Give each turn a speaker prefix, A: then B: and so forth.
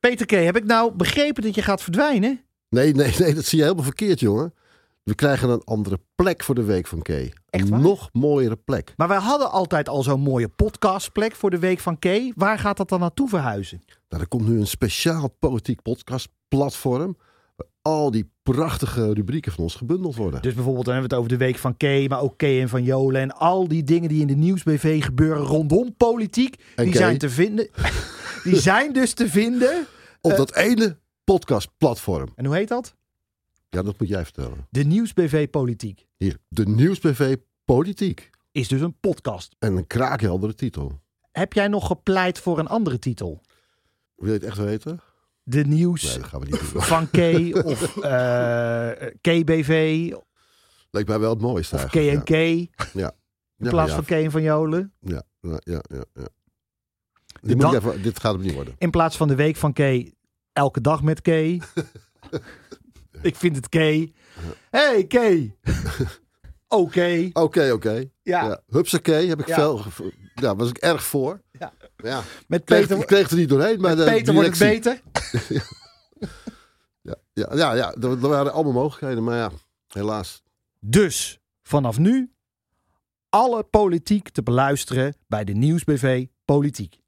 A: Peter K., heb ik nou begrepen dat je gaat verdwijnen?
B: Nee, nee, nee, dat zie je helemaal verkeerd, jongen. We krijgen een andere plek voor de Week van K.
A: Echt waar?
B: Een nog mooiere plek.
A: Maar wij hadden altijd al zo'n mooie podcastplek voor de Week van K. Waar gaat dat dan naartoe verhuizen?
B: Nou, er komt nu een speciaal politiek podcastplatform... waar al die prachtige rubrieken van ons gebundeld worden.
A: Dus bijvoorbeeld dan hebben we het over de Week van K, maar ook K en Van Jolen... en al die dingen die in de nieuwsbv gebeuren rondom politiek...
B: En
A: die
B: K.
A: zijn te vinden... die zijn dus te vinden...
B: Op
A: Eh.
B: dat ene podcastplatform.
A: En hoe heet dat?
B: Ja, dat moet jij vertellen.
A: De nieuwsbv Politiek.
B: Hier, de Nieuwsbv Politiek.
A: Is dus een podcast.
B: En een kraakheldere titel.
A: Heb jij nog gepleit voor een andere titel?
B: Wil je het echt weten?
A: De
B: Nee,
A: nieuws
B: dat gaan we niet doen.
A: van K of eh, KBV
B: Lijkt mij wel het mooiste
A: of
B: eigenlijk, ja.
A: KNK in
B: Ja,
A: plaats
B: ja,
A: van K en Van Jolen.
B: Ja, ja, ja, ja. ja.
A: De
B: Dit, moet
A: dan-
B: ik even, dit gaat hem niet worden.
A: In plaats van de week van K, elke dag met K. Ik vind het K. Hey K. Oké.
B: Oké, oké.
A: Ja,
B: Ja. Hupsakee heb ik
A: Ja.
B: veel... gevo- Ja, was ik erg voor.
A: Ja.
B: ja.
A: met
B: Kreeg,
A: Peter,
B: ik kreeg er niet doorheen, maar...
A: met
B: de
A: Peter wordt het
B: directie-
A: beter.
B: Ja, ja, ja er, er waren allemaal mogelijkheden, maar ja, helaas.
A: Dus vanaf nu alle politiek te beluisteren bij de Nieuwsbv Politiek.